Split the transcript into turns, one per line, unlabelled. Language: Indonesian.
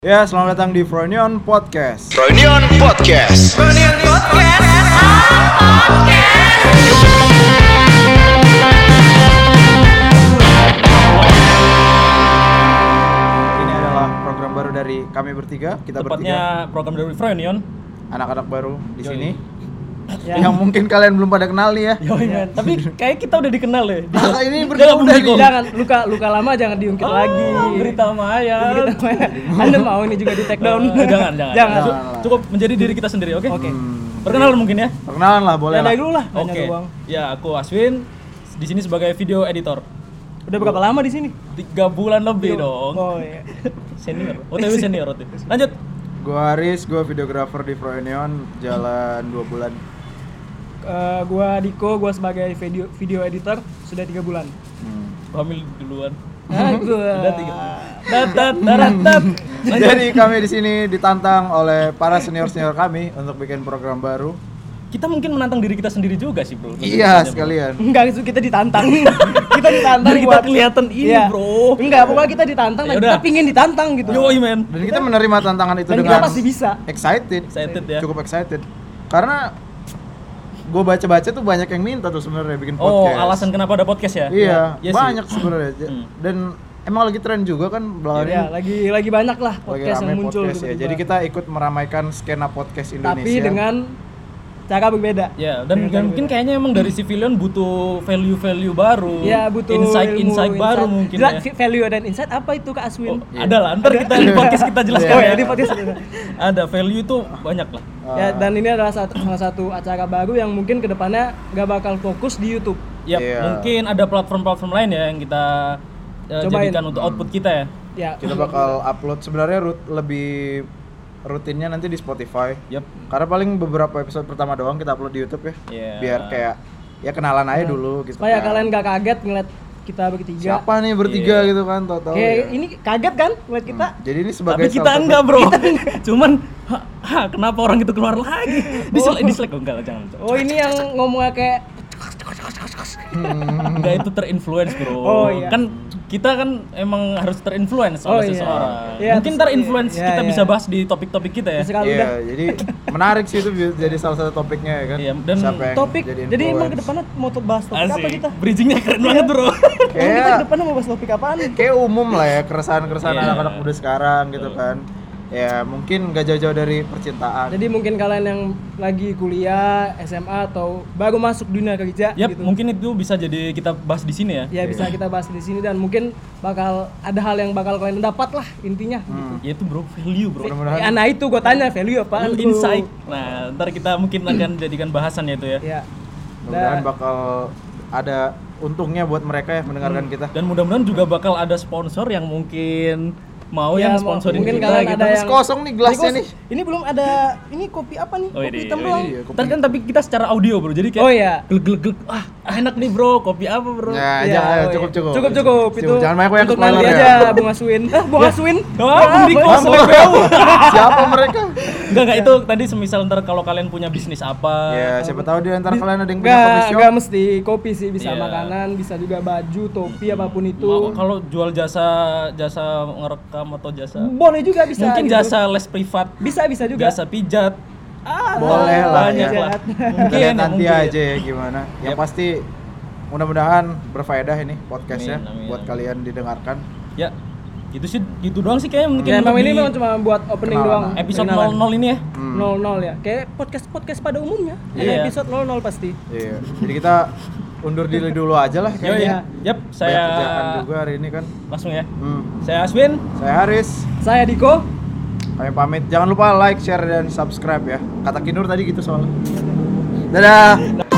Ya, selamat datang di Fronion Podcast.
Reunion Podcast.
Ini adalah program baru dari kami bertiga, kita bertiga,
Tepatnya program dari Frenion.
anak-anak baru di
Yoi.
sini.
Ya.
Yang mungkin kalian belum pada kenal nih ya.
Yoi, men. Iya. Tapi kayak kita udah dikenal ya. deh.
Nah, ini
Jangan
berdua udah
bunuh
nih.
jangan kan? luka luka lama jangan diungkit lagi
Oh, Berita Maya.
Berita Maya. anda mau ini juga di take down
Eh, jangan, jangan. Nah.
jangan
Cu- Cukup menjadi diri kita sendiri, oke?
Oke.
Perkenalan mungkin ya.
Hmm, Perkenalan lah, boleh
ya
lah.
dari dulu lah
Oke.
nanya doang
Ya, aku Aswin di sini sebagai video editor.
udah berapa lama di sini
Tiga bulan lebih dong.
oh iya
Senior. OTW senior OTW. Lanjut.
Gua Aris, gua videographer di Fronion, jalan 2 bulan.
Eh, gua Diko gua sebagai video video editor sudah tiga bulan
Hmm.
Hamil duluan.
Nah, gua-
Udah tiga. Dat dat darat dat. Lanjut.
Jadi kami di sini ditantang oleh para senior-senior kami untuk bikin program baru.
Kita mungkin menantang diri kita sendiri juga sih, Bro.
Iya,
Lanjut.
sekalian.
Enggak, itu kita ditantang. kita ditantang
Biar kita
buat Iya.
kelihatan ini, bro. Ya
Enggak, pokoknya kita ditantang dan
Yaudah.
kita pingin ditantang gitu.
Yoi, men.
Dan kita menerima tantangan itu
Dan kita
dengan
pasti bisa.
excited.
Excited ya.
Cukup excited. Karena gue baca-baca tuh banyak yang minta tuh sebenarnya bikin
Oh,
podcast.
alasan kenapa ada podcast ya?
Iya,
Ya sih.
banyak sebenarnya. Ja-
Hmm.
Dan emang lagi tren juga kan belakangan
Ya,
ini.
lagi lagi banyak lah
Lagi
podcast
rame
yang muncul
podcast ya.
tiba-tiba.
Jadi kita ikut meramaikan skena podcast Indonesia.
tapi dengan cara berbeda.
Ya, dan
Dengan cara
mungkin
berbeda.
kayaknya emang dari civilian butuh value-value baru.
Ya butuh ilmu,
insight-insight baru
insight.
mungkin
Jelas,
ya.
fi- value dan insight apa itu Kak
Oh,
Aswin?
Ada lah, ntar kita di podcast kita jelaskan.
Oh
ya.
ya, ini podcast
Ah.
kita.
Ada value itu banyak lah.
ya, dan ini adalah satu, salah satu acara baru yang mungkin kedepannya gak bakal fokus di YouTube.
Ya,
Iya.
mungkin ada platform-platform lain ya yang kita eh,
Cobain.
jadikan untuk output kita ya.
Ya,
kita bakal upload sebenarnya rut- lebih rutinnya nanti di Spotify.
Yap.
Karena paling beberapa episode pertama doang kita upload di YouTube ya.
Iya.
Biar kayak ya kenalan aja dulu gitu. kan.
supaya Iya. kalian gak kaget ngeliat kita bertiga.
Siapa nih bertiga
Iya.
gitu kan total.
Kayak ini kaget kan ngeliat kita?
Jadi ini Hmm. sebagai
Tapi kita
salah satu-
enggak, Bro. Cuman ha, ha, kenapa orang itu keluar lagi? Dislike, dislike oh, enggak lah, jangan.
Oh ini yang ngomongnya kayak
Enggak itu terinfluence bro.
Oh, iya.
Kan kita kan emang harus terinfluence
Oh,
oleh
iya.
seseorang.
Iya,
Mungkin
terus-
terinfluence
iya,
kita
iya.
bisa bahas di topik-topik kita ya.
terserah lu
Iya,
dah.
jadi menarik sih itu bi- jadi salah satu topiknya ya kan.
Iya, dan
yang
Topik, jadi, emang
influence.
kedepannya mau tuh bahas topik apa
Asik.
kita? Iya.
Bridgingnya keren banget bro.
Emang kita
Kayak-
kedepannya mau bahas topik apaan?
kayak umum lah ya keresahan-keresahan
Iya.
anak-anak muda sekarang gitu kan ya mungkin nggak jauh-jauh dari percintaan
Jadi mungkin kalian yang lagi kuliah, SMA atau baru masuk dunia kerja
Yap,
gitu.
mungkin itu bisa jadi kita bahas di sini ya.
Ya bisa kita bahas di sini dan mungkin bakal ada hal yang bakal kalian dapat lah intinya.
Hmm,
gitu.
Ya itu bro, value bro.
mudah-mudahan
Ya, nah itu gue tanya value apaan
Value
tuh?
insight. Nah, ntar kita mungkin akan jadikan bahasan ya itu ya.
Ya.
mudah-mudahan bakal ada untungnya buat mereka ya mendengarkan kita
Dan mudah-mudahan juga bakal ada sponsor yang mungkin mau
Ya,
Oh, yang
mau-
sponsorin
mungkin
kita.
kalian
gitu.
ada
Habis
yang
kosong nih gelasnya
Ini
nih
kos- Ini belum ada ini kopi apa nih?
Oh,
kopi
ini,
hitam
ini.
doang.
Iya, kopi.
Ntar kan tapi kita secara audio bro, jadi kayak
Oh iya.
glek glek glek. Ah, enak nih bro, kopi apa bro?
ya,
Ya,
jangan
oh, iya.
cukup cukup
Cukup cukup itu.
jangan banyak banyak
Untuk nanti
spoiler
aja
ya.
Bung Aswin. Ah, Bung Aswin.
Wah, Bung Diko
Bung
sampai
Aswin.
bau.
siapa mereka
Enggak enggak itu tadi semisal ntar kalau kalian punya bisnis apa.
Iya.
ya siapa tahu di antara kalian ada yang punya
Enggak,
coffee shop
enggak mesti kopi sih, bisa
Iya.
makanan, bisa juga baju, topi
Hmm.
apapun
Mau-
itu.
Kalau jual jasa jasa ngerekam atau jasa
Boleh juga Hmm. bisa.
mungkin
gitu.
jasa les privat,
bisa bisa juga.
jasa pijat. Ah,
Boleh lah
banyak
ya.
lah.
kalian
Mungkin
nanti
mungkin.
aja ya gimana yang
Yap.
pasti mudah-mudahan berfaedah ini podcastnya
Amin, amin,
buat
amin.
kalian didengarkan
Ya. Gitu sih, gitu doang sih kayaknya mungkin.
Ya, emang
untuk
ini
di
memang cuma buat opening
Kenalan.
doang.
episode
Kenalan.
00 ini ya.
Hmm.
00 ya. Kayak podcast-podcast pada umumnya. Ada
Iya.
episode 00 pasti.
Iya. Jadi kita undur diri dulu aja lah
Yo,
kayaknya.
Yap,
Banyak kerjaan
saya
juga hari ini kan.
langsung ya.
Hmm.
Saya Aswin.
Saya Haris.
Saya Diko.
Kami pamit. Jangan lupa like, share dan subscribe ya. Kata Kinur tadi gitu soalnya. Dadah.